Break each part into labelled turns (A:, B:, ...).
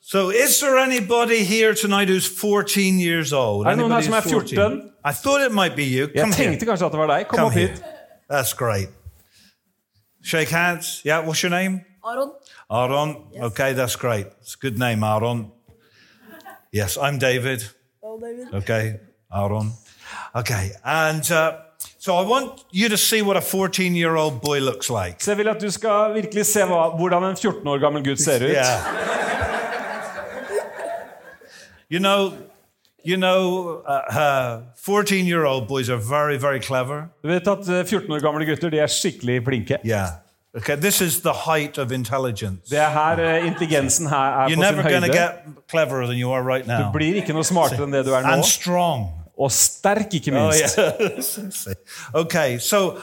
A: So, is there anybody here tonight who's 14 years old?
B: Er det noen her
A: Anybody
B: som er
A: who's 14?
B: 14?
A: I thought it might be you. Come
B: Jeg
A: here.
B: tenkte kanskje at det var deg. Kom
A: Come
B: opp
A: here.
B: hit.
A: That's great. Shake hands. Yeah, what's your name?
C: Aron.
A: Aaron. Okay, that's great. It's a good name, Aaron. Yes, I'm David.
C: Hello, David.
A: Okay, Aaron. Okay, and uh, so I want you to see what a 14 year old boy looks like.
B: Så jeg vil at du skal virkelig se hva, hvordan en 14 år gammel gutt ser ut.
A: Yeah. you know, you know, uh, 14 year old boys are very, very clever.
B: Du vet at eh, 14 år gamle gutter de er skikkelig flinke.
A: Yeah. Okay, this is the height of intelligence.
B: Det er her eh, intelligensen her er
A: You're
B: på
A: never
B: sin
A: going to get
B: høyde.
A: cleverer than you are right
B: Du
A: now.
B: blir ikke noe smartere enn det du er nå.
A: And strong.
B: Og sterk, ikke
A: Oh,
B: minst.
A: yeah. okay, so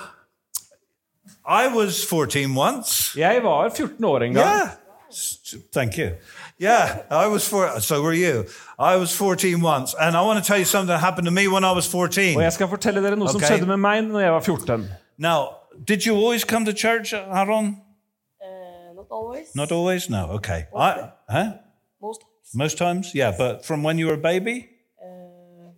A: I was 14 once.
B: Jeg var 14 år en gang.
A: Yeah. S- Thank you. Yeah, I was four. So were you. I was 14 once. And I want to tell you something that happened to me when I was
B: Og
A: 14.
B: jeg skal fortelle dere noe som
A: Ok.
B: skjedde med meg når jeg var 14.
A: Now, did you always come to church, Aaron?
C: Uh, not always.
A: Not always? No, okay. I, huh?
C: Most.
A: Most times? Yeah, but from when you were a baby?
C: Uh,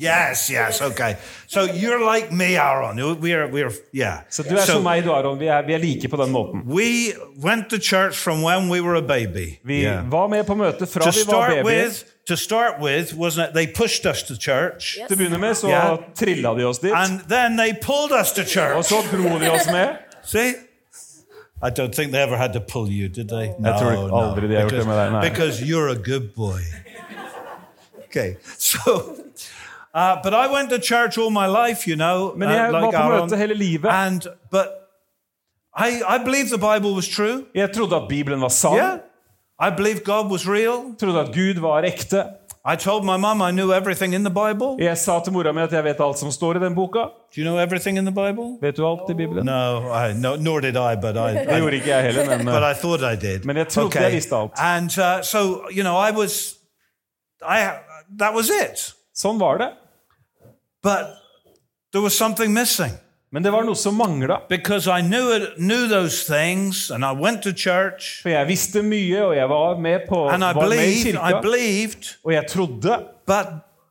C: yes.
A: Yes, yes, okay. So you're like me, Aaron. We are, we are, yeah.
B: Så du er som meg, du, Aron. Vi er, vi er like på den måten.
A: We went to church from when we were a baby.
B: Vi var med på møtet
A: To
B: fra vi var
A: start
B: babyer.
A: with, to start with, wasn't it? They pushed us to church,
C: Yes.
B: Til å begynne med så
A: Ja.
B: trilla de oss dit,
A: and then they pulled us to
B: og
A: church.
B: så dro de oss med.
A: See, I don't think they ever had to pull you, did they? No,
B: tror aldrig de har gjort det med dig,
A: because,
B: nej.
A: because you're a good boy. Okay, so, uh, but I went to church all my life, you know,
B: Men jeg
A: uh,
B: var
A: like
B: på
A: Aaron.
B: møte hele livet.
A: and but I I believe the Bible was true.
B: Jeg trodde at Bibelen var
A: Yeah.
B: sann.
A: I believe God was real.
B: Trodde at Gud var ekte.
A: I told my mum I knew everything in the Bible.
B: Jeg sa til mora mi at jeg vet alt som står i den boka.
A: Do you know everything in the Bible?
B: Vet du alt i Bibelen?
A: No, I no nor did I, but I,
B: Det
A: I
B: gjorde ikke jeg heller, men
A: but
B: eh,
A: I thought I did.
B: Men jeg trodde jeg visste alt.
A: And uh, so, you know, I was I that was it.
B: sånn var det.
A: But there was something missing
B: Men det var noe som mangla.
A: because I knew it, knew those things and I went to church
B: For jeg visste mye, og jeg var med på
A: and I
B: var med i
A: believed I
B: kirka.
A: believed
B: Og jeg trodde,
A: but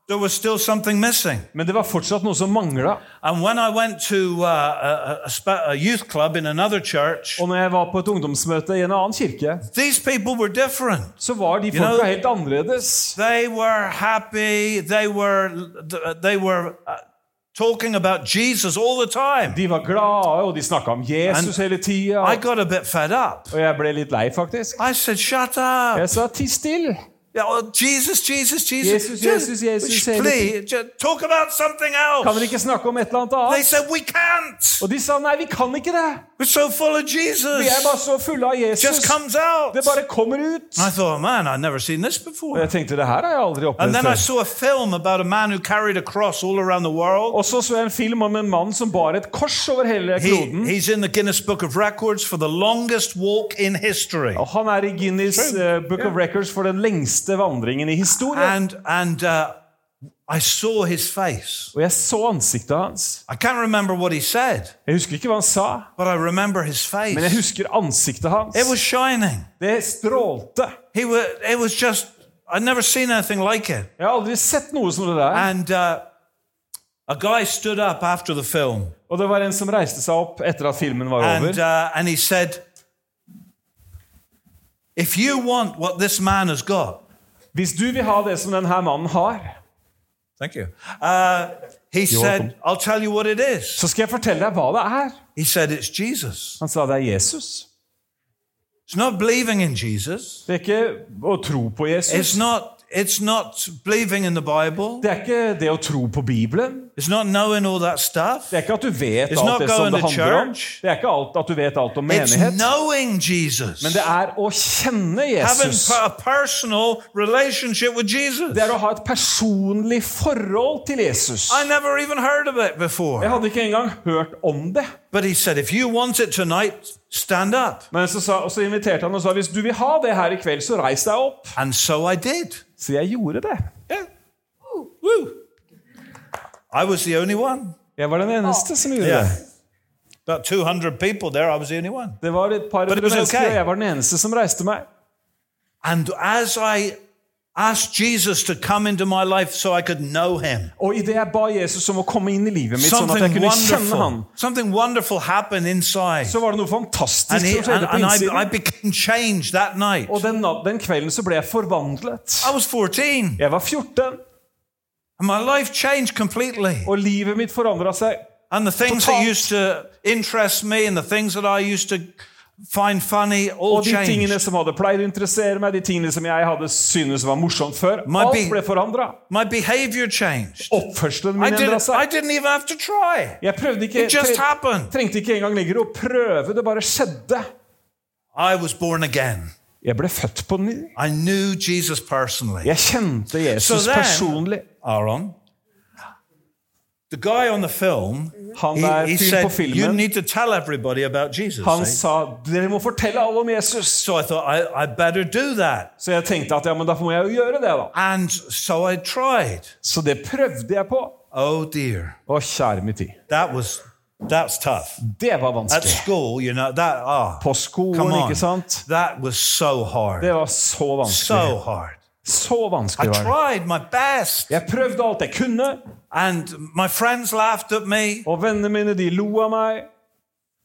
A: there was still something missing.
B: men det var fortsatt noe som mangla.
A: And when I went to uh, a- a, a, spa- a youth club in another church,
B: Og når jeg var på et ungdomsmøte i en annen kirke,
A: these people were different.
B: så var de
A: know-
B: folka helt annerledes.
A: They were happy. They were they were uh, talking about Jesus all the time.
B: De var glade, og de snakka om Jesus hele tida.
A: I got a bit fed up.
B: Og jeg ble litt lei, faktisk.
A: I said, "Shut up!
B: Jeg sa ti still.
A: Yeah, oh, Jesus, Jesus, Jesus,
B: Jesus, Jesus, Jesus,
A: Just,
B: say
A: please, just talk about something else."
B: Kan dere ikke snakke om et eller annet
A: They
B: annet?
A: said, "We can't.
B: Og de sa nei, vi kan ikke det.
A: We're so full of
B: Vi er bare
A: Jesus.
B: så fulle av Jesus.
A: Just comes out."
B: Det bare kommer ut.
A: I thought, man, I've never seen this
B: Og
A: before.
B: jeg tenkte det her har jeg aldri
A: And
B: opplevd
A: then I
B: før.
A: saw a film about a man who carried a cross all around the world.
B: Og så så jeg en film om en mann som bar et kors over hele
A: He,
B: kloden.
A: he's in the Guinness Book of Records for the longest walk in history.
B: Og han er i Guinness
A: True.
B: eh, Book of Records for den lengste vandringen i historien.
A: And and uh, I saw his face.
B: Og jeg så ansiktet hans.
A: I can't remember what he said,
B: Jeg husker ikke hva han sa,
A: but I remember his
B: men jeg
A: face.
B: husker ansiktet hans.
A: It was shining.
B: Det strålte.
A: He was. It was just. I'd never seen anything like it.
B: Jeg har aldri sett noe som det der.
A: And uh, a guy stood up after the film,
B: Og det var en som reiste seg opp etter at filmen var
A: and
B: over.
A: uh, and he said, "If you want what this man has got."
B: Hvis du vil ha det som denne mannen har,
A: Thank you. Uh, he said,
B: welcome.
A: I'll tell you what it is.
B: så skal jeg fortelle deg hva det er.
A: He said, It's Jesus.
B: Han sa det er Jesus.
A: It's not believing in Jesus.
B: Det er ikke å tro på Jesus.
A: It's not, it's not believing in the Bible.
B: Det er ikke det å tro på Bibelen.
A: It's not knowing all that stuff.
B: Det er ikke at du vet
A: It's not
B: alt det som
A: going
B: det
A: to
B: handler om.
A: church.
B: Det er ikke alt at du vet alt om
A: It's
B: menighet.
A: knowing Jesus.
B: Men det er å kjenne
A: Having
B: Jesus.
A: a personal relationship with Jesus.
B: Det er å ha et personlig forhold til Jesus.
A: I never even heard of it
B: Jeg
A: before.
B: hadde ikke engang hørt om det.
A: But he said, If you want it tonight, stand up.
B: Men så, sa, og så inviterte han og sa hvis du vil ha det her i kveld, så reis deg opp.
A: And so I did.
B: Så jeg gjorde det.
A: Yeah. Woo. I was the only one.
B: Jeg var den
A: Ah.
B: eneste som gjorde
A: Yeah.
B: det.
A: About 200 people there, I was the only one.
B: Det var et par
A: But it
B: hundre
A: was
B: mennesker,
A: okay.
B: og jeg var den eneste som reiste meg.
A: And as I asked Jesus to come into my life so I could know him,
B: Og idet jeg ba Jesus om å komme inn i livet mitt, sånn at jeg
A: something
B: kunne kjenne han,
A: wonderful, something wonderful happened inside.
B: så var det noe fantastisk
A: And, he,
B: som
A: and,
B: skjedde på
A: and I, I
B: innsiden.
A: became changed that night.
B: Og den, nat- den kvelden så ble jeg forvandlet.
A: I was 14,
B: Jeg var 14,
A: and my life changed completely.
B: og livet mitt forandra seg.
A: And the things that
B: Totalt.
A: used to interest me and the things that I used to find funny all
B: Og de tingene
A: changed.
B: som hadde pleid å interessere meg, de tingene som jeg hadde syntes var morsomt før,
A: My
B: alt
A: being-
B: ble forandra.
A: My behavior changed.
B: Oppførselen
A: I
B: min endra
A: didn't, I
B: seg.
A: didn't even have to try.
B: Jeg prøvde ikke,
A: It just
B: tre-
A: happened.
B: trengte ikke engang lenger å prøve, det bare skjedde.
A: I was born again.
B: Jeg ble født på ny.
A: I knew Jesus personally.
B: Jeg kjente Jesus
A: Så det er-
B: personlig.
A: Aaron, the guy on the film,
B: Han
A: he,
B: der
A: he
B: fyren på
A: said, You
B: filmen,
A: need to tell everybody about Jesus.
B: han
A: eh?"
B: sa 'Dere må fortelle alle om Jesus'.
A: So I thought, I, I better do that.
B: Så jeg tenkte at ja, men da må jeg jo gjøre det, da.
A: And so I tried.
B: Så det prøvde jeg på.
A: Oh dear.
B: Å, kjære min tid.
A: That was, that's tough.
B: Det var
A: At
B: vanskelig.
A: school, you know, that, ah.
B: På
A: Come
B: skolen,
A: on.
B: ikke sant?
A: That was so
B: Det
A: hard.
B: var så vanskelig.
A: So hard.
B: Så
A: I
B: vanskelig var det.
A: tried my best.
B: Jeg prøvde alt jeg kunne,
A: And my friends laughed at me.
B: og vennene mine de lo av meg.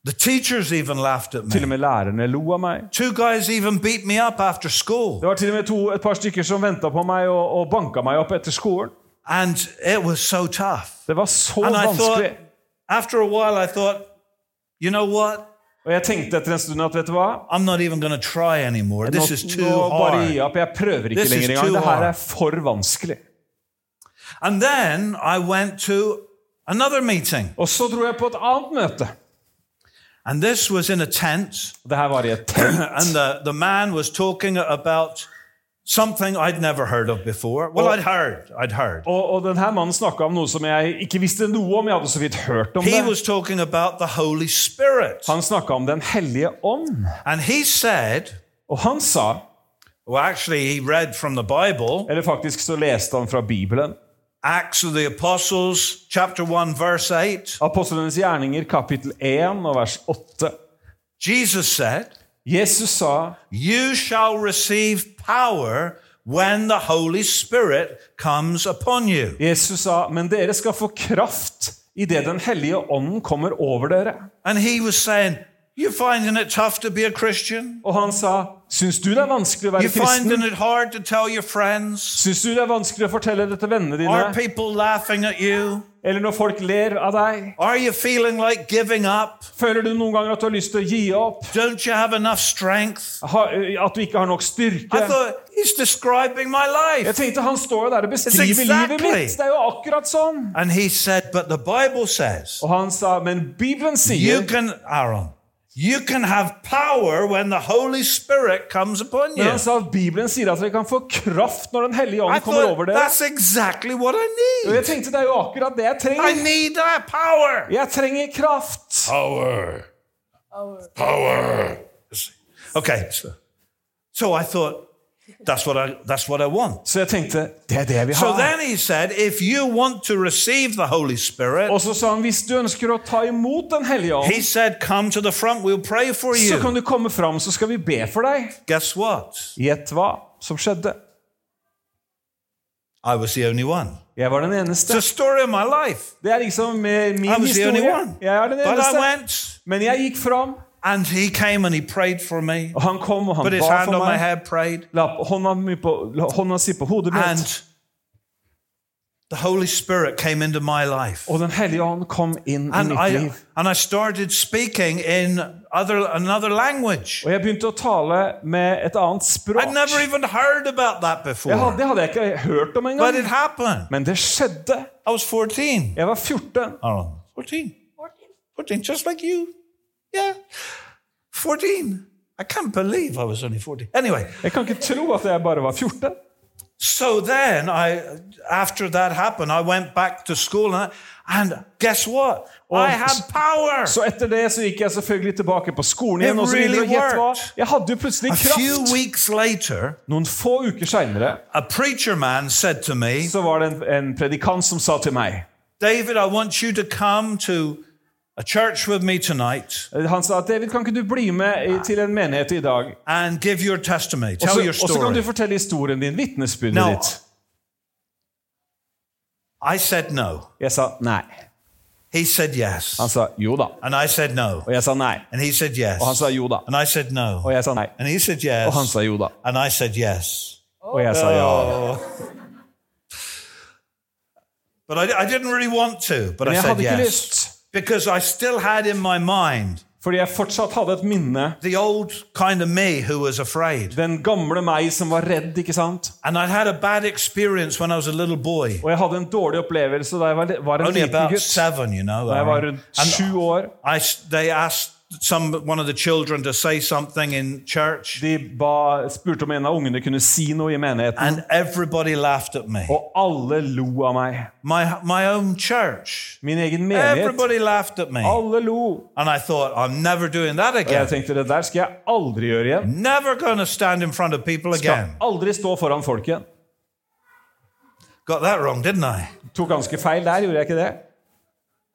A: The teachers even laughed at
B: Til og
A: me.
B: med lærerne lo av meg.
A: Two guys even beat me up after school.
B: Det var til og med to, et par stykker som venta på meg og, og banka meg opp etter skolen.
A: And it was so tough.
B: Det var så
A: And I
B: vanskelig.
A: thought, after a while, I thought, you know what?
B: Og jeg tenkte etter en stund at vet du hva?
A: I'm not even going to try anymore.
B: Nå,
A: This is too
B: nå bare gi
A: hard.
B: opp. Jeg prøver ikke
A: This is
B: lenger engang.
A: too
B: Det her
A: hard.
B: er for vanskelig.
A: And then I went to another meeting.
B: Og så dro jeg på et annet møte.
A: And this was in a tent.
B: Det her var i et telt.
A: And uh, the, the man was talking about something I'd never heard of before. Well, I'd heard. I'd heard.
B: Og, og denne mannen snakka om noe som jeg ikke visste noe om. Jeg hadde så vidt hørt om
A: He
B: det.
A: was talking about the Holy Spirit.
B: Han snakka om Den hellige ånd.
A: And he said,
B: Og han sa,
A: well, actually, he read from the Bible,
B: eller faktisk så leste han fra Bibelen,
A: Acts of the Apostles, chapter 1, verse 8.
B: Apostlenes gjerninger kapittel 1 og vers 8.
A: Jesus said,
B: Jesus sa,
A: You shall receive power when the Holy Spirit comes upon you.
B: Jesus sa, men dere skal få kraft idet Den hellige ånden kommer over dere.
A: And he was saying, You finding it tough to be a Christian?
B: Og han sa, syns du det er vanskelig å
A: You
B: være
A: finding
B: kristen?
A: it hard to tell your friends?
B: Syns du det er vanskelig å fortelle det til vennene
A: Are
B: dine?
A: people laughing at you?
B: Eller når folk ler av deg?
A: Are you feeling like giving up?
B: Føler du noen ganger at du har lyst til å gi opp?
A: Don't you have enough strength?
B: Ha, eh, at du ikke har nok
A: I
B: styrke?
A: thought, he's describing my life.
B: Jeg tenkte, han står jo der og beskriver
A: It's
B: livet
A: exactly-
B: mitt! Det er jo akkurat sånn!
A: And he said, But the Bible says,
B: Og han sa, men Bibelen
A: You
B: sier
A: can, Aaron, you can have power when the Holy Spirit comes upon
B: Men
A: you.
B: han sa at Bibelen sier at dere kan få kraft når Den
A: I
B: hellige ånd kommer
A: thought,
B: over dere.
A: that's exactly what I
B: Og
A: need.
B: jeg tenkte det er jo akkurat det jeg
A: I
B: trenger.
A: need that power.
B: Jeg trenger kraft.
A: Power.
C: Our.
A: Power. Okay. So, so I thought, that's what I, that's what I want.
B: Så jeg tenkte det er det vi
A: So
B: har.
A: then he said, if you want to receive the Holy Spirit,
B: Og så sa han hvis du ønsker å ta imot Den hellige
A: he
B: ånd,
A: said, come to the front, we'll pray for
B: så
A: you.
B: kan du komme fram, så skal vi be for deg.
A: Guess what?
B: Gjett hva som skjedde.
A: I was the only one.
B: Jeg var den
A: It's
B: eneste.
A: a story of my life.
B: Det er liksom eh, min
A: I was the only
B: historie.
A: one.
B: Jeg er
A: But
B: den
A: I
B: eneste.
A: went,
B: Men jeg gikk fram,
A: and he came and he prayed for me,
B: og han kom, og han
A: put his
B: ba
A: hand
B: for
A: on my
B: meg.
A: head, prayed,
B: La hånda, mi på, la hånda si på hodet mitt.
A: and the Holy Spirit came into my life.
B: Og Den hellige ånd kom inn i
A: And
B: mitt
A: I,
B: liv.
A: and I started speaking in other, another language.
B: Og jeg begynte å tale med et annet språk.
A: I'd never even heard about that
B: Jeg hadde,
A: before,
B: det hadde jeg ikke hørt om
A: but it
B: engang.
A: happened.
B: Men det skjedde.
A: I was 14.
B: Jeg var 14.
A: Aaron. 14.
C: 14.
A: 14, just like you. Yeah. 14. I can't believe I was only 14. Anyway,
B: Jeg kan ikke tro at jeg bare var 14.
A: so then I, after that happened, I went back to school and, and guess what? I had power.
B: Så etter det så gikk jeg selvfølgelig tilbake på skolen igjen.
A: It
B: Og så videre,
A: really
B: og gjett hva?
A: worked.
B: Jeg hadde jo plutselig
A: A few
B: kraft.
A: weeks later,
B: Noen få uker seinere
A: a preacher man said to me,
B: så var det en, en predikant som sa til meg
A: David, I want you to come to a church with me tonight
B: Han sa at David, kan ikke du bli med i- til en menighet i dag?
A: and give your testimony.
B: Og
A: Tell
B: så-
A: your
B: og så kan du
A: story.
B: fortelle historien din, vitnesbyrdet
A: No.
B: ditt.
A: I said no.
B: Jeg sa nei.
A: He said yes.
B: Han sa jo da.
A: And I said no.
B: Og jeg sa nei.
A: And he said
B: Og han
A: yes.
B: sa jo da.
A: And I said
B: Og
A: no.
B: jeg sa nei.
A: And he said
B: Og han
A: yes.
B: sa jo da.
A: And I said yes.
B: Og jeg
A: Oh,
B: sa ja.
A: But I, I didn't really want to, but I
B: Men jeg
A: said
B: hadde ikke
A: yes.
B: lyst,
A: Because I still had in my mind
B: fordi jeg fortsatt hadde et minne.
A: the old kind of me who was afraid.
B: Den gamle meg som var redd, ikke sant?
A: And I'd had a bad experience when I was a little boy,
B: Og jeg hadde en dårlig opplevelse da jeg var, var en
A: only
B: liten
A: about
B: gutt.
A: seven, you know.
B: Da jeg var
A: Aaron.
B: rundt sju år.
A: I, they asked some one of the children to say something in church,
B: De ba, spurte om en av ungene kunne si noe i menigheten.
A: and everybody laughed at me.
B: Og alle lo av meg.
A: My my own church.
B: Min egen menighet.
A: Everybody laughed at me,
B: Alle lo.
A: and I thought, I'm never doing that
B: Og jeg
A: again.
B: tenkte det der skal jeg aldri gjøre igjen.
A: Never going to stand in front of people
B: Skal
A: again.
B: aldri stå foran folk igjen.
A: Got that wrong, didn't I?
B: Tok ganske feil der, gjorde jeg ikke det?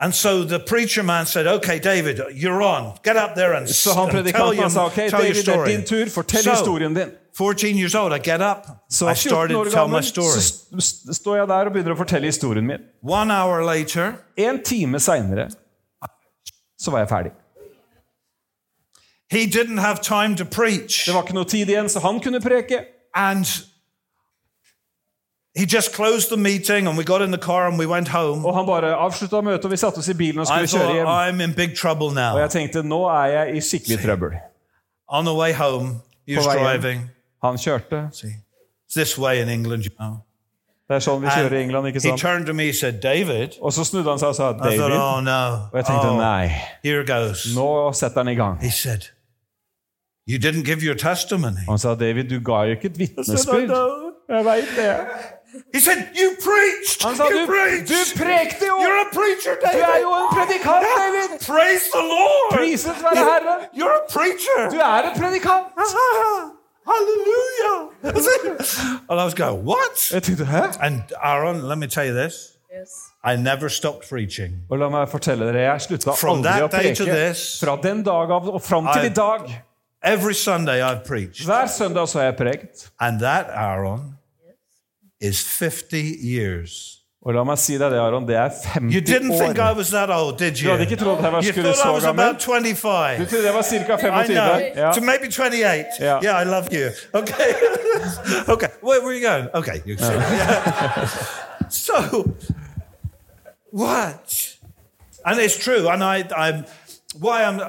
A: And so the preacher man said, "Okay, David, you're on. Get up there and,
B: Så han
A: and tell, your,
B: predikanten sa ok,
A: tell your
B: David, det er
A: story."
B: din tur, fortell
A: So,
B: historien din.
A: 14 years old, I get up.
B: Så
A: I
B: 14
A: started
B: år
A: to tell my
B: gammel så
A: story.
B: st- st- står jeg der og begynner å fortelle historien min.
A: One hour later,
B: En time seinere så var jeg ferdig.
A: he didn't have time to preach,
B: Det var ikke noe tid igjen, så han kunne preke.
A: and he just closed the meeting. And we got in the car and we went home.
B: Og han bare avslutta møtet, og vi satte oss i bilen og
A: I
B: skulle kjøre
A: thought
B: hjem.
A: I'm in big trouble
B: Og
A: now.
B: jeg tenkte nå er jeg i skikkelig trøbbel.
A: On the way home, he was
B: På vei hjem.
A: driving.
B: Han kjørte.
A: See, it's this way in England, you know.
B: Det er sånn vi
A: And
B: kjører i England, ikke
A: he
B: sant?
A: turned to me, said, "David."
B: Og så snudde han seg og sa
A: I thought,
B: David.
A: "Oh no."
B: Og jeg tenkte
A: Oh,
B: nei,
A: Here goes.
B: nå setter han i gang.
A: He said, You didn't give your testimony.
B: Han sa David, du ga jo ikke et vitnesbyrd. Jeg veit det.
A: He said, You preached!
B: Han sa
A: you
B: du,
A: preached!
B: du prekte jo!
A: You're a preacher,
B: Du
A: David!
B: er jo en predikant, David!
A: Praise the Lord!
B: Priset være Herren!
A: You're a preacher!
B: Du er en predikant!
A: Ah, Hallelujah!
B: er-
A: and I was going, What?
B: Jeg tenkte, hæ?
A: And Aaron, let me tell you this
C: Yes.
A: I never stopped preaching.
B: Og la meg fortelle dere, jeg slutta
A: From
B: aldri
A: that
B: å
A: day to
B: preke.
A: this,
B: Fra den dag av og fram til
A: I-
B: i dag.
A: Every Sunday I've preached.
B: Hver søndag så har jeg prekt.
A: And that, Aaron, is 50 years.
B: Og la meg si deg det, Aron, det er
A: You
B: 50
A: didn't think I
B: år.
A: was that old, did you?
B: Du hadde ikke trodd jeg var
A: You
B: skulle
A: thought I
B: så
A: was
B: gammel.
A: about 25.
B: Du trodde jeg var ca.
A: I
B: 25.
A: know.
B: Ja.
A: To maybe 28.
B: Yeah.
A: I love you. Okay. okay. Where were you going? Okay. You can so, what? And it's true. And I, I'm, why I'm,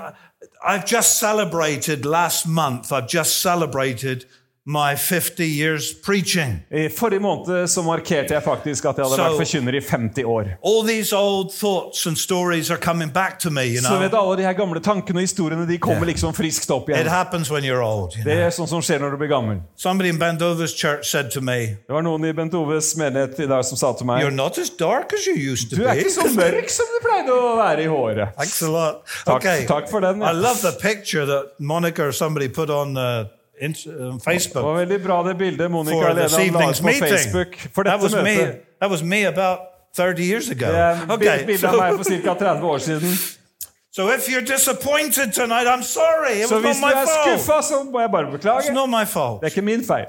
A: I've just celebrated last month, I've just celebrated my 50 years preaching.
B: I forrige måned så markerte jeg faktisk at jeg hadde
A: So-
B: vært forkynner i 50 år.
A: All these old thoughts and stories are coming back to me, you
B: Så vet
A: know.
B: du, alle de her gamle tankene og historiene de kommer liksom friskt opp
A: It
B: igjen.
A: happens when you're old. you know.
B: Det er sånn som skjer når du blir gammel.
A: Somebody in Bandova's church said to me,
B: Det var noen i Bent Oves menighet i dag som sa til meg
A: You're not as dark as you used to
B: Du
A: be.
B: er ikke så mørk som du pleide å være i håret.
A: Thanks a lot.
B: Talk-
A: okay.
B: talk for them.
A: I love the picture that Monica or somebody put on uh, Inst- uh,
B: Det var
A: Facebook
B: veldig bra det bildet Monica
A: for this
B: Leland la ut
A: evening's
B: på
A: meeting.
B: Facebook for
A: that
B: dette
A: was me.
B: møtet.
A: That was me about 30 years ago.
B: Det er et
A: okay.
B: bilde av meg
A: So,
B: for ca. 30 år siden.
A: so if you're disappointed tonight, I'm sorry. It
B: Så
A: was
B: hvis
A: not
B: du
A: my
B: er
A: fault.
B: skuffa, så må jeg bare
A: It's
B: beklage.
A: not my fault.
B: Det er ikke min feil.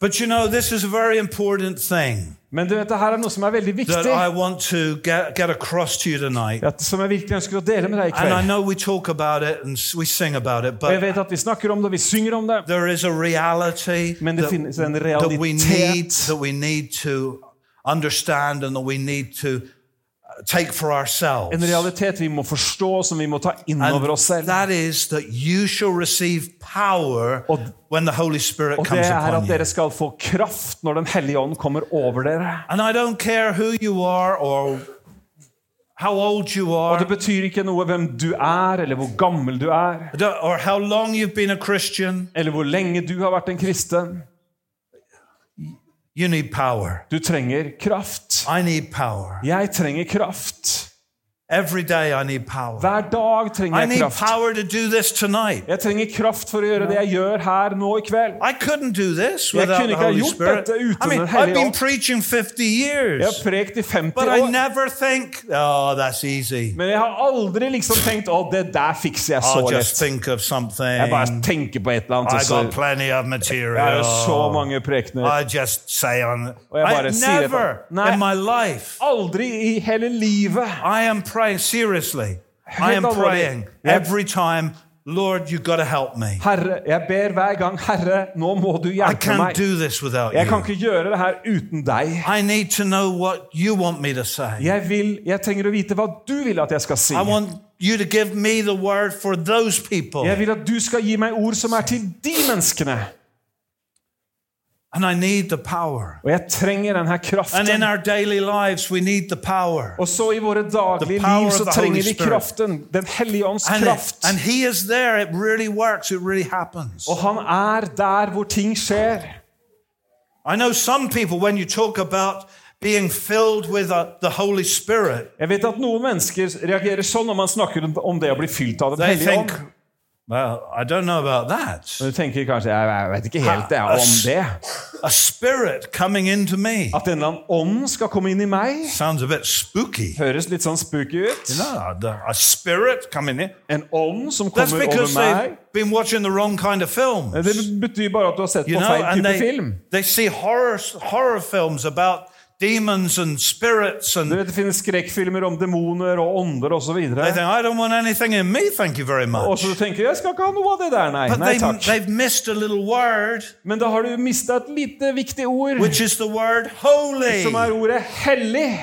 A: But you know, this is a very important thing
B: Men du vet, det her er noe som er veldig
A: that
B: viktig,
A: I want to get, get across to you tonight.
B: at- som jeg virkelig ønsker å dele med deg i
A: And I
B: kveld.
A: know we talk about it and s- we sing about it,
B: Og jeg
A: but
B: vet at vi snakker om det, og vi synger om det,
A: there is a reality
B: men det
A: that,
B: finnes en
A: that we need
B: realitet
A: that we need to understand and that we need to uh, take for ourselves.
B: En realitet vi må forstå, som vi må ta inn
A: And
B: over oss selv.
A: that is that you shall receive power
B: Og-
A: when the Holy Spirit
B: Og det
A: comes
B: er
A: upon
B: at
A: you.
B: dere skal få kraft når Den hellige ånd kommer over dere.
A: And I don't care who you are or how old you
B: Og
A: are
B: det betyr ikke noe hvem du er, eller hvor gammel du er,
A: or how long you've been a Christian,
B: eller hvor lenge du har vært en kristen.
A: you need power.
B: Du trenger kraft.
A: I need power.
B: Jeg trenger kraft.
A: Every day I need power.
B: Hver dag trenger
A: I
B: jeg
A: need
B: kraft.
A: power to do this tonight.
B: Jeg trenger kraft for å gjøre det jeg gjør her nå i kveld.
A: I couldn't do this
B: Jeg
A: without the
B: kunne ikke ha
A: Holy
B: gjort
A: Spirit.
B: dette uten
A: I mean,
B: Den
A: I've
B: hellige
A: been
B: ånd.
A: preaching 50
B: Jeg har
A: years,
B: prekt i
A: but
B: 50
A: I
B: år,
A: never think, oh, that's easy.
B: men jeg har aldri liksom tenkt 'Å, det der fikser jeg så
A: I'll just
B: lett'.
A: think of something.
B: Jeg bare
A: I
B: tenker på et eller annet, og
A: got
B: så
A: plenty of
B: Jeg har jo så
A: material.
B: mange prekener.
A: I just say on.
B: jeg
A: I
B: bare sier det
A: never
B: på- Nei.
A: in my life.
B: Aldri i hele livet.
A: I am praying seriously. I am
B: Helt alvorlig.
A: praying
B: Ja.
A: every time. Lord, you got to help me.
B: Herre, jeg ber hver gang, Herre, nå må du
A: I
B: hjelpe
A: can't
B: meg.
A: do this without
B: Jeg kan
A: you.
B: ikke gjøre det her uten deg.
A: I need to know what you want me to say.
B: Jeg, vil, jeg trenger å vite hva du vil at jeg skal si.
A: I want you to give me the word for those people.
B: Jeg vil at du skal gi meg ord som er til de menneskene.
A: And I need the power.
B: Og jeg trenger den her
A: And in
B: kraften.
A: our daily lives, we need the power.
B: Og så i våre daglige
A: The power
B: liv
A: of
B: så
A: the Holy
B: trenger vi
A: Spirit.
B: kraften. Den hellige ånds
A: And,
B: kraft.
A: and He is there. It really works. It really happens.
B: Og han er der hvor ting skjer.
A: I know some people, when you talk about being filled with uh, the Holy Spirit,
B: Jeg vet at noen mennesker reagerer sånn når man snakker om det å bli fylt av Den
A: they
B: hellige
A: think,
B: ånd.
A: well, I don't know about that.
B: Men du tenker kanskje jeg, jeg vet ikke helt det, om det.
A: A spirit coming into me.
B: At en eller annen ånd skal komme inn i meg.
A: Sounds a bit spooky.
B: høres litt sånn spooky ut.
A: No, the- a spirit coming in.
B: En ånd som
A: That's
B: kommer over
A: because
B: meg.
A: they've been watching the wrong kind of film.
B: Det betyr bare at du har sett
A: You
B: på
A: know,
B: feil
A: and
B: type
A: they,
B: film.
A: they see horror, horror films about demons and spirits, and
B: Du
A: they
B: vet, Det finnes skrekkfilmer om demoner og ånder osv.
A: think, I don't want anything in me, thank you very
B: Og
A: much.
B: så tenker du jeg skal ikke ha noe av det der, nei.
A: But
B: nei
A: they,
B: takk.
A: they've missed a little word,
B: Men da har du mista et lite viktig ord,
A: which is the word
B: som er
A: holy.
B: ordet hellig.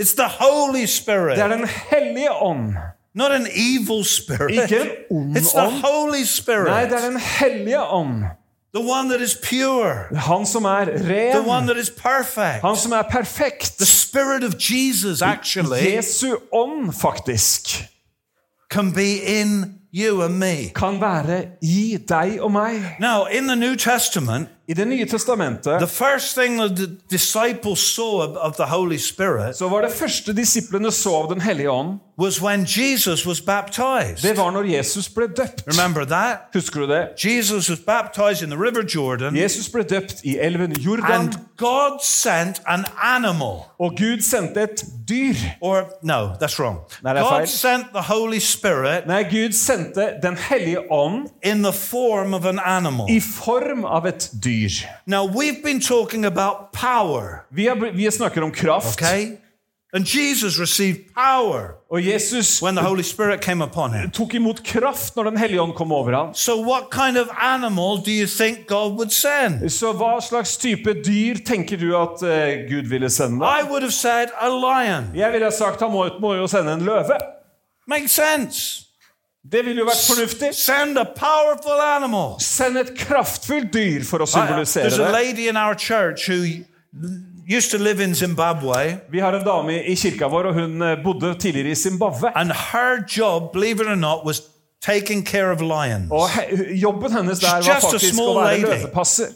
A: It's the Holy
B: Det er
A: Spirit,
B: Den hellige ånd.
A: not an evil spirit.
B: Ikke en ond
A: It's the
B: ånd.
A: Holy
B: Nei, det er
A: Spirit,
B: Den hellige ånd.
A: the one that is pure.
B: Han som er
A: the one
B: ren.
A: that is perfect.
B: Han som er perfekt.
A: The Spirit of Jesus actually
B: Jesu ånd, faktisk,
A: can be in you and me.
B: kan være i deg og meg.
A: Now, in the New Testament,
B: I Det nye
A: the
B: testamentet
A: first thing that the disciples saw of- of the Holy Spirit
B: så var det første disiplene så av Den hellige ånd,
A: was when Jesus was baptized.
B: det var når Jesus ble døpt.
A: Remember that?
B: Husker du det?
A: Jesus was baptized in the River Jordan,
B: Jesus ble døpt i elven Jordan,
A: and God sent an animal.
B: og Gud sendte et dyr.
A: Or, no, that's wrong.
B: No, that's
A: God
B: right.
A: sent the Holy Spirit
B: Nei, Gud sendte Den hellige ånd
A: in the form of an animal.
B: i form av et dyr.
A: Now, we've been talking about power.
B: Vi, har, vi snakker om kraft,
A: Okay? And Jesus received power
B: og Jesus
A: when the Holy Spirit came upon him.
B: tok imot kraft når Den hellige ånd kom over ham.
A: So, what kind of animal do you think God would send?
B: Så hva slags type dyr tenker du at eh, Gud ville sende?
A: I would have said a lion.
B: Jeg ville ha sagt han må, må jo sende en løve.
A: Makes sense.
B: Det ville jo vært fornuftig.
A: Send a powerful animal.
B: Send et kraftfullt dyr for å
A: I- uh,
B: symbolisere
A: There's a
B: det.
A: lady in our church who used to live in Zimbabwe,
B: Vi har en dame i kirka vår, og hun eh, bodde tidligere i Zimbabwe.
A: and her job, believe it or not, was taking care of lions.
B: Og he jobben hennes der var
A: Just a
B: faktisk å
A: small
B: være
A: lady.
B: løvepasser.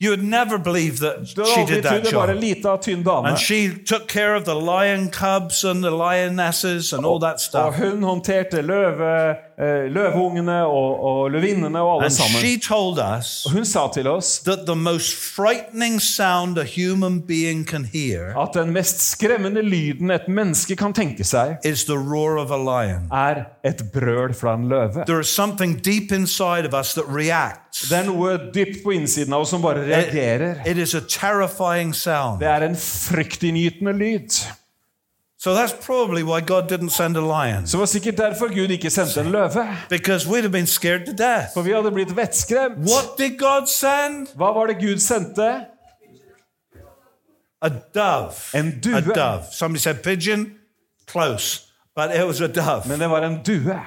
A: You would never believe that
B: Du
A: she
B: hadde aldri
A: did that
B: trodd det var
A: job.
B: en lita, tynn dame.
A: And she took care of the lion cubs and the lionesses and all that
B: Og
A: stuff.
B: hun håndterte løve, eh, løveungene og, og løvinnene og alle
A: And
B: sammen.
A: she told us
B: Og hun sa til oss
A: that the most frightening sound a human being can hear
B: at den mest skremmende lyden et menneske kan tenke seg,
A: is the roar of a lion.
B: er et brøl fra en løve.
A: There is something deep inside of us that reacts.
B: Det er noe dypt på innsiden av oss som bare reagerer.
A: It is a terrifying sound.
B: Det er en fryktinngytende lyd.
A: So that's probably why God didn't send a lion.
B: Så det var sikkert derfor Gud ikke sendte en løve.
A: Because we'd have been scared to death.
B: For vi hadde blitt vettskremt.
A: What did God send?
B: Hva var det Gud sendte?
A: A dove.
B: En
A: A
B: due.
A: dove. Somebody said pigeon. Close. But it was a dove.
B: Men det var en due.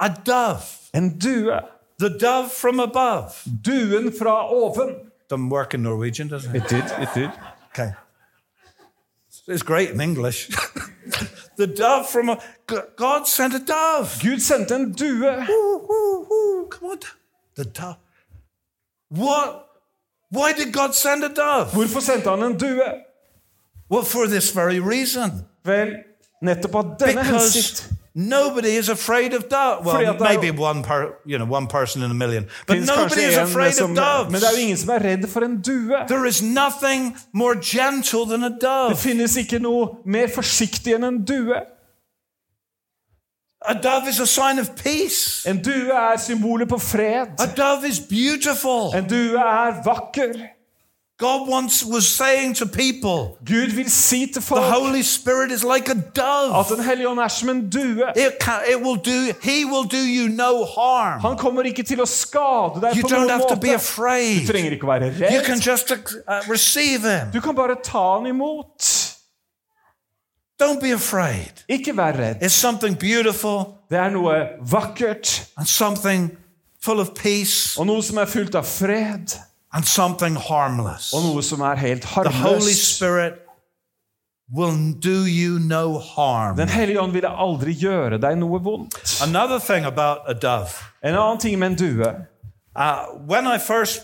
A: A dove.
B: En due.
A: The dove from above.
B: Duen fra oven.
A: Doesn't work in Norwegian, does it?
B: It did, it did.
A: Okay. It's great in English. the dove from a, God sent a dove.
B: Gud sendte en due.
A: Ooh, ooh, ooh, Come on. The dove. What? Why did God send a dove?
B: Hvorfor sendte han en due?
A: Well, for this very reason.
B: Vel, Nettopp av denne hensikt.
A: Because nobody is afraid of doves.
B: Fordi
A: Well,
B: at det er jo-
A: maybe one, per, you know, one person in a million. But
B: finnes kanskje
A: nobody is
B: en
A: afraid
B: som,
A: of doves.
B: men det er jo ingen som er redd for en due.
A: There is nothing more gentle than a
B: Det
A: dove.
B: finnes ikke noe mer forsiktig enn en due.
A: A dove is a sign of peace.
B: En due er symbolet på fred.
A: A dove is beautiful.
B: En due er vakker.
A: God once was saying to people,
B: Gud vil si til
A: the
B: folk
A: Holy Spirit is like a dove.
B: at Den hellige ånd er som en due.
A: It, can, it will do, he will do you no harm.
B: Han kommer ikke til å skade deg
A: You
B: på
A: don't
B: noen
A: have to be
B: måte. Du
A: afraid.
B: trenger ikke være
A: You can
B: redd.
A: just uh, receive him.
B: Du kan bare ta han imot.
A: Don't be afraid.
B: Ikke vær redd.
A: It's something beautiful
B: Det er noe vakkert,
A: and something full of peace
B: og noe som er fullt av fred,
A: and something harmless.
B: og noe som er helt
A: The Holy
B: harmløst.
A: Spirit will do you no harm.
B: Den hellige ånd ville aldri gjøre deg noe vondt.
A: Another thing about a dove.
B: En annen ting med en due
A: Uh, when I first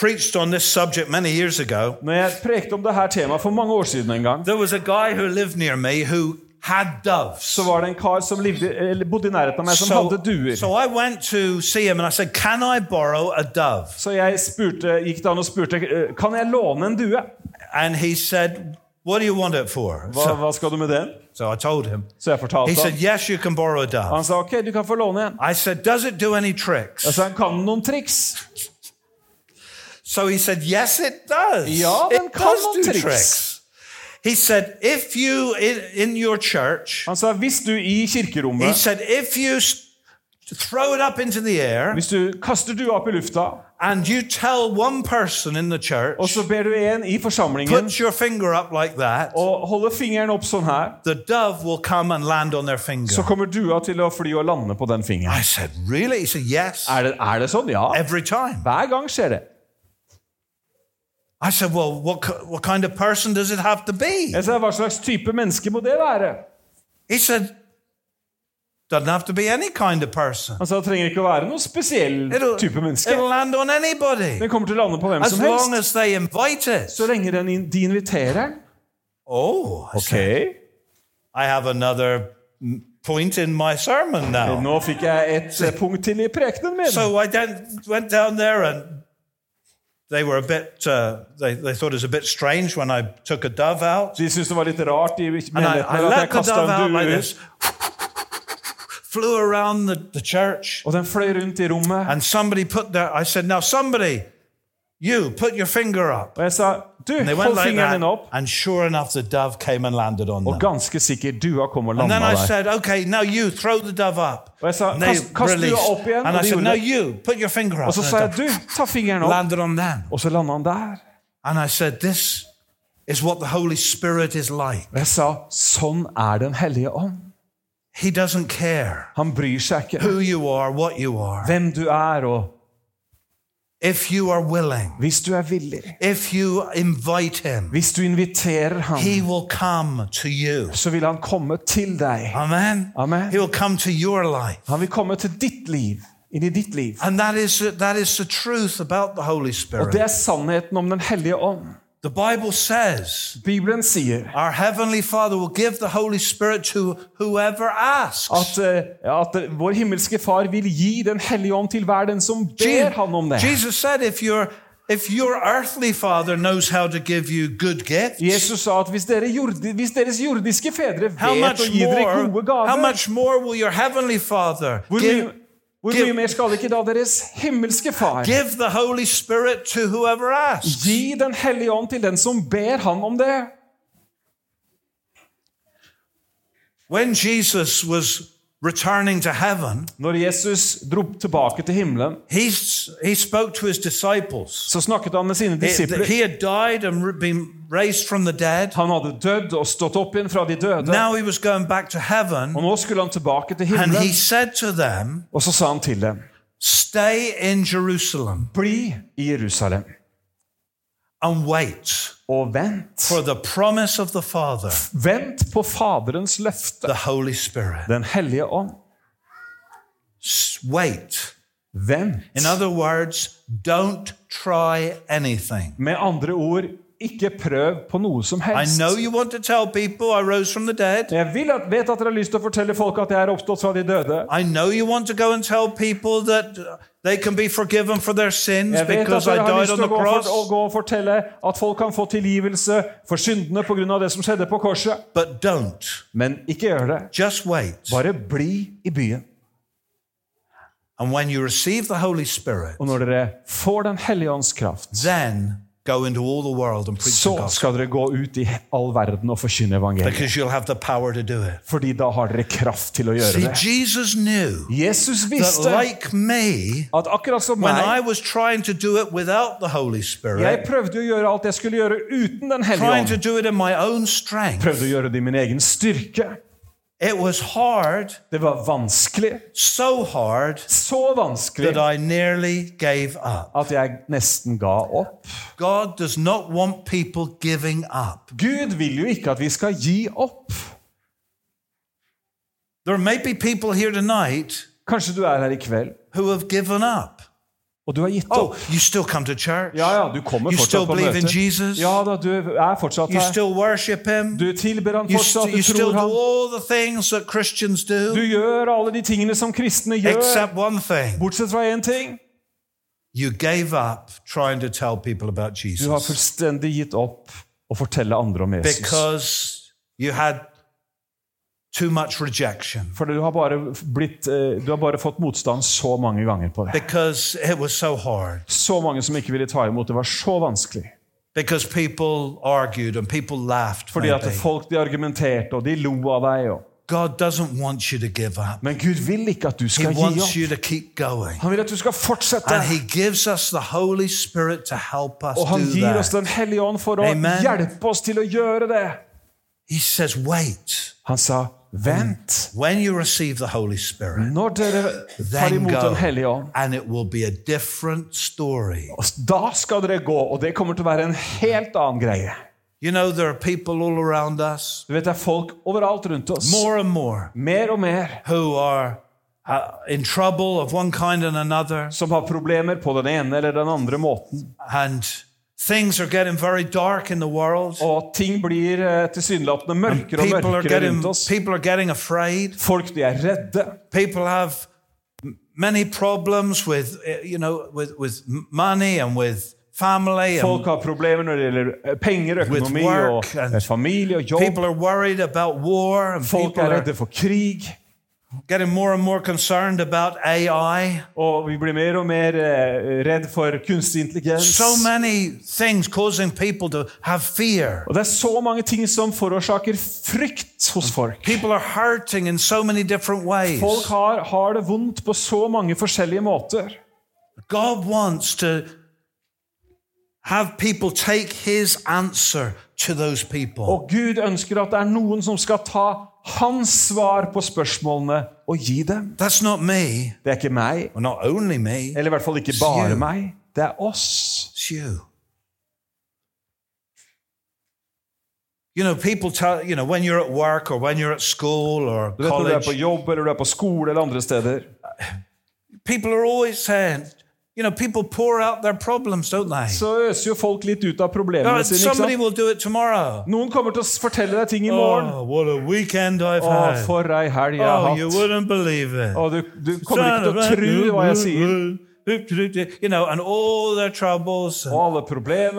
A: preached on this subject many years ago,
B: Når jeg prekte om dette temaet for mange år siden, en gang,
A: there was a guy who lived near me who had doves.
B: så var det en kar som livde, eller bodde i nærheten av meg, som hadde duer.
A: so I went to see him and I said, Can I borrow a dove?
B: Så jeg spurte, gikk da han og spurte «Eh, kan jeg låne en due.
A: And he said, What do you want it for?
B: Hva,
A: So,
B: hva skal du med den?
A: so I told him.
B: Så jeg
A: He
B: fortalte
A: said,
B: ham.
A: Yes, you can borrow a dove.
B: Han sa ok, du kan få låne en.
A: I said, Does it do any tricks?
B: Jeg sa han kan noen triks.
A: So he said, Yes, it does.
B: Ja, den
A: it
B: kan
A: does
B: noen
A: do
B: triks.
A: tricks. He said, If you, in, in your church,
B: Han sa hvis du
A: he
B: i kirkerommet
A: said, if you s- throw it up into the air
B: hvis du kaster dua opp i lufta,
A: and you tell one person in the
B: og
A: church,
B: så ber du en i forsamlingen
A: put your finger up like that,
B: og holder fingeren opp sånn her,
A: the dove will come and land on their
B: så
A: finger.
B: kommer dua til å fly og lande på den fingeren.
A: I said, Really? He said, Yes,
B: Er det, er det sånn? Ja.
A: every time.
B: Hver gang skjer det.
A: I said, Well, what, ki- what kind of person does it have to be?
B: Jeg sa hva slags type menneske må det være?
A: He said, Doesn't have to be any kind of person.
B: Han sa det trenger ikke å være noen spesiell
A: It'll,
B: type menneske.
A: it'll land on anybody.
B: Den kommer til å lande på hvem
A: As
B: som
A: long
B: helst.
A: as they invite us.
B: Så lenge den in- de inviterer den.
A: Oh, I said,
B: Eh,
A: I have another mm, point in my sermon now.
B: Nå fikk jeg et eh, punkt til i prekenen min.
A: So I down- went down there and they were a bit, uh, they, they thought it was a bit strange when I took a dove out.
B: De syntes det var litt rart i
A: And I, I
B: menigheten at jeg
A: let the
B: kasta
A: dove out
B: en
A: like
B: due,
A: this, flew around the, the church.
B: og den fløy rundt i rommet.
A: And somebody put their, I said, now somebody, you, put your finger up.
B: Og jeg sa du,
A: And they went
B: hold
A: like
B: fingeren din
A: that.
B: opp.
A: And sure enough, the dove came and landed on
B: Og
A: them.
B: ganske sikkert dua kom og
A: And
B: landa
A: then I
B: der.
A: said, okay, now you throw the dove up.
B: Og jeg sa
A: And they
B: kast, kast dua
A: released.
B: opp igjen.
A: And I
B: Og, de
A: said, now
B: gjorde det.
A: you, put your finger up.
B: og så
A: And
B: sa
A: the
B: jeg
A: dove
B: du, ta fingeren opp.
A: landed on them.
B: Og så landa han der.
A: And I said, this is what the Holy Spirit is like.
B: Og jeg sa sånn er Den hellige ånd.
A: He doesn't care
B: Han bryr seg ikke
A: who you are, what you are.
B: hvem du er, og
A: If you are willing,
B: hvis du er villig.
A: if you invite him,
B: Hvis du inviterer ham,
A: he will come to you.
B: så vil han komme til deg.
A: Amen.
B: Amen.
A: He will come to your life.
B: Han vil komme til ditt liv, inn i ditt liv.
A: And that is, that is the truth about the Holy
B: Og det
A: Spirit.
B: er sannheten om Den hellige ånd.
A: The Bible says
B: Bibelen sier
A: our Heavenly Father will give the Holy Spirit to whoever asks.
B: at, eh, at eh, vår himmelske Far vil gi Den hellige ånd til hver den som ber han om det.
A: Jesus said if, your if your earthly Father knows how to give you good gifts,
B: Jesus sa at hvis, dere jordi, hvis deres jordiske fedre
A: how,
B: vet å
A: much
B: gi dere
A: more,
B: gode
A: how
B: gaver,
A: much more will your Heavenly Father
B: hvor mye,
A: give,
B: hvor
A: give-
B: mye mer skal ikke da deres himmelske Far
A: give the Holy Spirit to whoever asks?
B: gi Den hellige ånd til den som ber han om det?
A: When Jesus was returning to heaven,
B: Når Jesus dro tilbake til himmelen,
A: he, s- he spoke to his disciples.
B: så snakket han med sine
A: It-
B: disipler.
A: he had died and re- been raised from the dead.
B: Han hadde dødd og stått opp igjen fra de døde.
A: Now he was going back to heaven.
B: Og nå skulle han tilbake til
A: And he
B: himmelen.
A: said to them,
B: Og så sa han til dem,
A: Stay in Jerusalem
B: bli i Jerusalem
A: and wait
B: og vent.
A: for the promise of the Father,
B: Vent på Faderens løfte,
A: the Holy Spirit.
B: Den hellige ånd.
A: S- Wait.
B: Vent.
A: In other words, don't try anything.
B: Med andre ord, Ikke prøv på noe som
A: I
B: helst.
A: know you want to tell people I rose from the dead.
B: Jeg vil at, vet at dere har lyst til å fortelle folk at jeg er oppstått fra de døde.
A: I know you want to go and tell people that they can be forgiven for their sins
B: Jeg vet at
A: because I
B: dere har lyst
A: died on
B: til å
A: the
B: gå, for, å
A: cross.
B: gå og fortelle at folk kan få tilgivelse for syndene pga. det som skjedde på korset.
A: But don't.
B: Men ikke gjør det.
A: Just wait.
B: Bare bli i byen.
A: And when you receive the Holy Spirit,
B: Og når dere får Den hellige ånds kraft,
A: then go into all the world and preach the
B: så
A: gospel
B: skal dere gå ut i all verden og forkynne evangeliet.
A: because you'll have the power to do it.
B: Fordi da har dere kraft til å gjøre
A: See,
B: det.
A: Jesus knew
B: Jesus
A: that,
B: visste
A: like me,
B: at akkurat som
A: when I
B: meg
A: was trying to do it without the Holy
B: Jeg
A: Spirit,
B: prøvde å gjøre alt jeg skulle gjøre uten Den hellige
A: trying to
B: ånd.
A: do it in my own strength,
B: Prøvde å gjøre det i min egen styrke.
A: it was hard,
B: Det var vanskelig.
A: so hard,
B: Så vanskelig
A: that I nearly gave up.
B: at jeg nesten ga opp.
A: God does not want people giving up.
B: Gud vil jo ikke at vi skal gi opp.
A: There may be people here tonight
B: Kanskje du er her i kveld,
A: who have given up.
B: og du har gitt
A: Oh,
B: opp.
A: you still come to church?
B: Ja, ja, du kommer
A: You still
B: fortsatt på
A: believe in
B: møtet.
A: Jesus?
B: Ja da, du er fortsatt
A: You
B: her.
A: still worship Him?
B: Du tilber han
A: You, st-
B: fortsatt,
A: you
B: du
A: still
B: tror
A: do
B: han.
A: all the things that Christians
B: Du
A: do,
B: gjør alle de tingene som kristne gjør,
A: except one thing.
B: bortsett fra én ting.
A: You gave up trying to tell people about
B: Du har
A: Jesus
B: fullstendig gitt opp å fortelle andre om Jesus.
A: because you had too much rejection,
B: For du har bare, blitt, eh, du har bare fått motstand så mange ganger på det.
A: because it was so hard,
B: Så mange som ikke ville ta imot. Det var så vanskelig.
A: because people argued and people laughed.
B: Fordi at
A: maybe.
B: folk de argumenterte, og de lo av deg. Og.
A: God doesn't want you to give up,
B: Men Gud vil ikke at du
A: He
B: skal gi
A: wants
B: opp.
A: you to keep going.
B: Han vil at du skal fortsette.
A: And He gives us the Holy Spirit to help us
B: Og Oh, han
A: do
B: gir oss
A: that.
B: Den hellige ånd for å
A: Amen.
B: hjelpe oss til å gjøre det.
A: He says, wait.
B: Han sa, vent.
A: When you receive the Holy Spirit,
B: Når dere tar
A: then
B: Mm. imot
A: go,
B: Den hellige ånd,
A: and it will be a different story.
B: og da skal dere gå. Og det kommer til å være en helt annen greie.
A: You know, there are people all around us,
B: Du vet, Det er folk overalt rundt oss.
A: more and more,
B: Mer og mer.
A: who are uh, in trouble of one kind and another,
B: Som har problemer på den ene eller den andre måten.
A: and things are getting very dark in the world.
B: Og ting blir eh, tilsynelatende mørkere og
A: People are
B: mørkere
A: getting,
B: rundt oss.
A: people are getting afraid.
B: Folk de er redde.
A: People have m- many problems with, eh, you know, with, with m- money and with family. And
B: Folk har problemer når det gjelder eh, penger,
A: With
B: økonomi
A: work
B: og
A: and-
B: eh, familie og jobb.
A: people are worried about war. And
B: Folk
A: people
B: er
A: are
B: redde for krig.
A: getting more and more concerned about AI.
B: Og vi blir mer og mer eh, redd for kunstig intelligens.
A: So many things causing people to have fear.
B: Og det er så mange ting som forårsaker frykt hos folk.
A: People are hurting in so many different ways.
B: Folk har, har det vondt på så mange forskjellige måter.
A: God wants to have people take his answer to those people.
B: Og Gud ønsker at det er noen som skal ta hans svar på spørsmålene og gi dem.
A: That's not me,
B: Det er ikke meg,
A: or not only me,
B: eller i hvert fall ikke
A: It's you.
B: bare meg. Det er oss.
A: it's you. You know, people tell, you know, when you're at work or when you're at school or
B: Du vet når du er
A: college,
B: på jobb eller du er på skole eller andre steder,
A: people are always saying, you know, people pour out their problems, don't they?
B: så øser jo folk litt ut av
A: Oh,
B: problemene sine. ikke
A: somebody
B: sant?
A: will do it tomorrow.
B: Noen kommer til å fortelle deg ting i morgen.
A: Oh, what a weekend I've
B: Å,
A: had.
B: for ei helg jeg
A: Oh,
B: har
A: you
B: hatt.
A: wouldn't believe it.
B: Og du, du kommer ikke til å tro hva jeg sier.
A: You know, and all their troubles, and
B: Og alle problemene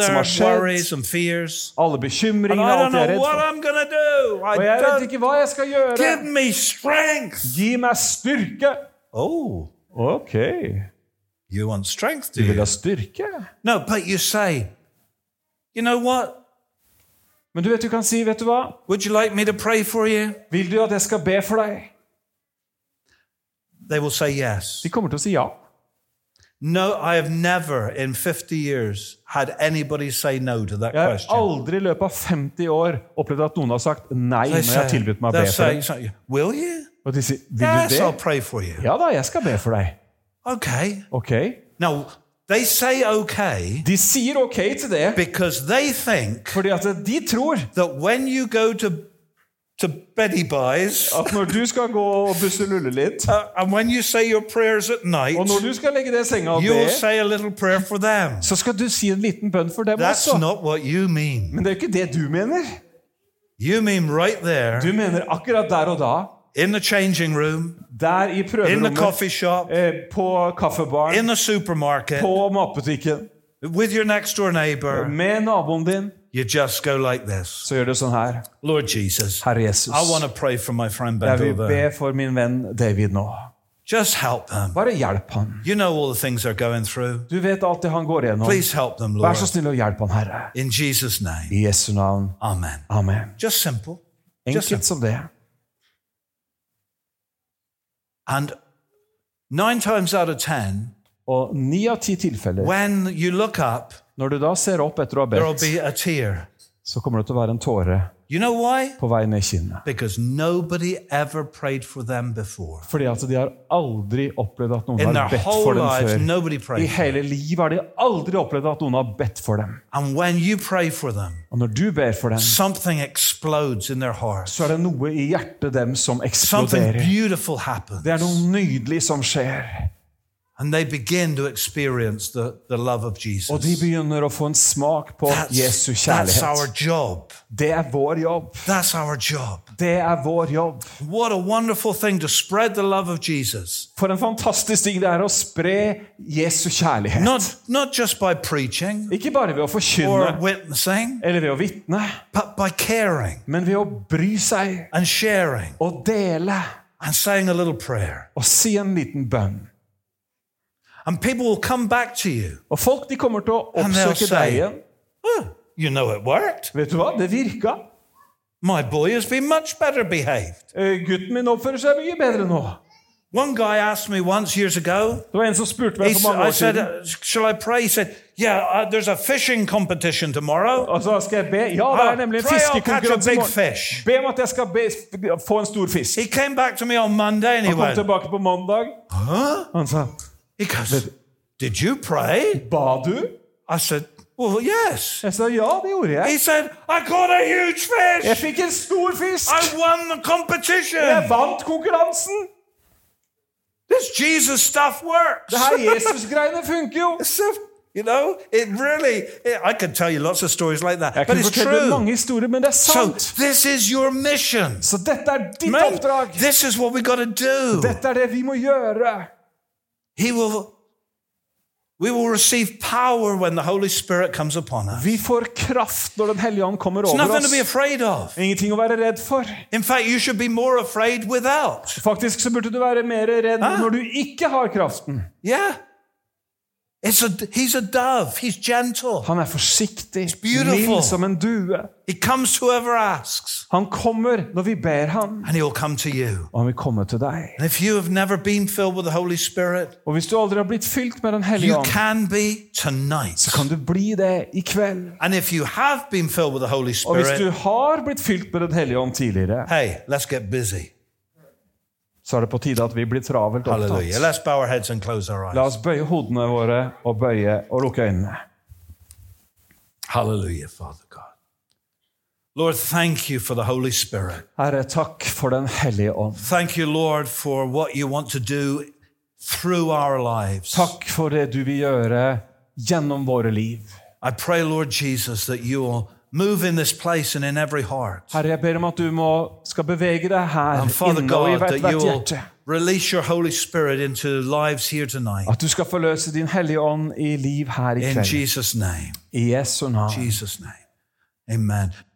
A: all
B: alt som
A: their
B: har
A: worries
B: skjedd.
A: and fears.
B: Alle
A: And
B: bekymringene
A: I
B: og
A: don't
B: alt jeg er
A: know
B: redd
A: what
B: for.
A: I'm going to do. I
B: Og jeg vet
A: don't
B: ikke hva jeg skal gjøre.
A: give me strength.
B: Gi meg styrke.
A: Oh,
B: Ok.
A: you want strength, do
B: Du vil
A: you?
B: ha styrke?
A: No, but you say, you know what?
B: Men du vet du kan si, vet du hva?
A: Would you like me to pray for you?
B: Vil du at jeg skal be for deg?
A: They will say yes.
B: De kommer til å si ja.
A: No, I have never in 50 years had anybody say no to that
B: Jeg har
A: question.
B: aldri i løpet av 50 år opplevd at noen har sagt nei
A: They
B: når jeg har
A: say-
B: tilbudt meg å
A: they'll
B: be for
A: say
B: deg.
A: something, Will you?
B: Og de sier, vil du
A: Yes, I'll
B: det?
A: pray for you.
B: Ja da, jeg skal be for deg.
A: Okay.
B: Ok.
A: Now, they say okay
B: De sier ok til det,
A: because they think
B: fordi at de tror
A: that when you go to to Betty Buys.
B: at når du skal gå og busse lulle litt,
A: Uh, and when you say your prayers at night,
B: og når du skal legge deg i senga og
A: you'll
B: be,
A: say a little prayer for them.
B: så skal du si en liten bønn for dem
A: That's
B: også.
A: not what you mean.
B: Men det er jo ikke det du mener.
A: You mean right there
B: Du mener akkurat der og da,
A: in the changing room,
B: der i
A: in the
B: prøverommet,
A: coffee shop,
B: eh, på kaffebaren,
A: in the supermarket,
B: på matbutikken,
A: with your next door neighbor.
B: med naboen din,
A: You just go like this
B: så gjør du sånn her.
A: Lord Jesus,
B: Herre
A: I
B: Jesus,
A: want to pray for my friend
B: jeg vil be
A: Bendover.
B: for min venn David nå.
A: Just help them.
B: Bare hjelp han.
A: You know all the things they're going through.
B: Du vet alt det han går igjennom.
A: Please help them, Lord.
B: Vær så snill og hjelp han, Herre.
A: In Jesus' name.
B: I Jesu navn.
A: Amen.
B: Amen.
A: Just simple. Just
B: Enkelt som det.
A: And nine times out of ten,
B: Og ni av ti tilfeller,
A: when you look up,
B: når du da ser opp etter å ha
A: there'll
B: bedt,
A: be a tear.
B: så kommer det til å være en tåre
A: You know why?
B: på vei ned kinnet.
A: Because nobody ever prayed for them before.
B: Fordi at de har aldri opplevd at
A: In their
B: noen har bedt for
A: whole
B: dem
A: lives,
B: før.
A: nobody
B: I
A: prayed.
B: hele livet har de aldri opplevd at noen har bedt for dem.
A: And when you pray for them,
B: Og når du ber for dem,
A: something explodes in their heart.
B: så er det noe i hjertet dem som
A: Something
B: eksploderer.
A: beautiful happens.
B: Det er noe nydelig som skjer.
A: And they begin to experience the, the love of
B: Og de
A: Jesus.
B: begynner å få en smak på
A: That's,
B: Jesu
A: that's our
B: kjærlighet.
A: job.
B: Det er vår jobb.
A: That's our job.
B: Det er vår jobb.
A: What a wonderful thing to spread the love of Jesus.
B: For en fantastisk ting det er å spre Jesu kjærlighet.
A: Not, not just by preaching
B: Ikke bare ved å
A: or
B: forkynne
A: witnessing,
B: eller ved å vitne,
A: but by caring
B: men ved å bry seg
A: and sharing
B: og dele
A: and saying a little prayer.
B: og si en liten bønn.
A: And people will come back to you.
B: Og folk de kommer til å
A: And they'll
B: oppsøke
A: say-
B: deg igjen.
A: Oh, you know it worked.
B: Vet du hva? Det virka.
A: My boy has been much better behaved.
B: Eh, Gutten min oppfører seg mye bedre nå.
A: One guy asked me once years ago,
B: Det var en som spurte
A: he,
B: meg
A: s-
B: for mange
A: I
B: år
A: said,
B: siden.
A: uh, Shall I pray? He said, Yeah, uh, there's a fishing competition tomorrow.
B: Og så Altså, skal jeg be Ja, det
A: Ah,
B: er nemlig en
A: pray I'll catch a
B: fiskekonkurranse i
A: big
B: morgen.
A: fish.
B: Be om at jeg skal be, få en stor fisk.
A: He came back to me on Monday and he
B: Han kom
A: went,
B: tilbake på mandag.
A: Huh?
B: Han sa
A: He goes, Did you pray?
B: Ba du?
A: I said, Well, yes.
B: Jeg sa ja, det gjorde jeg.
A: He said, I caught a huge
B: Jeg
A: fish.
B: fikk en stor fisk!
A: I won the
B: Jeg
A: competition.
B: vant konkurransen!
A: This Jesus stuff works.
B: Det her Jesus-greiene funker jo!
A: So, you know, it really, it- I could tell you lots of stories like that,
B: Jeg
A: but
B: kan
A: it's
B: fortelle
A: true.
B: mange historier, men det er
A: So,
B: sant!
A: this is your mission.
B: Så dette er ditt
A: Man,
B: oppdrag!
A: this is what we got to do.
B: Dette er det vi må gjøre!
A: He will, we will receive power when the Holy Spirit comes upon us.
B: Vi får kraft når Den hellige ånd kommer
A: It's
B: over
A: nothing to
B: oss.
A: be afraid of.
B: Ingenting å være redd for.
A: In fact, you should be more afraid without.
B: Faktisk så burde du være mer redd
A: Hæ?
B: når du ikke har kraften.
A: Yeah. It's a, he's a dove. He's gentle.
B: Han er forsiktig,
A: beautiful.
B: mild som en due.
A: He comes to whoever asks,
B: Han kommer når vi ber han,
A: and he'll come to you.
B: og han vil komme til deg.
A: And if you have never been filled with the Holy Spirit,
B: Og hvis du aldri har blitt fylt med Den hellige
A: you
B: ånd,
A: can be tonight.
B: så kan du bli det i kveld.
A: And if you have been filled with the Holy
B: Og hvis du
A: Spirit,
B: har blitt fylt med Den hellige ånd tidligere,
A: hey, let's get busy.
B: så er det på tide at vi blir travelt
A: Hallelujah.
B: opptatt.
A: Let's bow our heads and close our
B: La
A: eyes.
B: oss bøye hodene våre og bøye og lukke øynene.
A: Hallelujah, Father God. Lord, thank you for the Holy Spirit.
B: Herre, takk for Den hellige ånd.
A: Thank you, Lord, for what you want to do through our lives.
B: Takk for det du vil gjøre gjennom våre liv.
A: I pray, Lord Jesus, that you will move in this place and in every heart.
B: Herre, jeg ber om at du må, skal bevege deg her
A: And Father
B: inne og i
A: God,
B: hvert,
A: that you
B: hvert
A: will
B: hjerte.
A: release your Holy Spirit into lives here tonight.
B: At du skal forløse Din hellige ånd i liv her i
A: In
B: kveld.
A: Jesus' name.
B: I Jesu navn.
A: Jesus' name. Amen.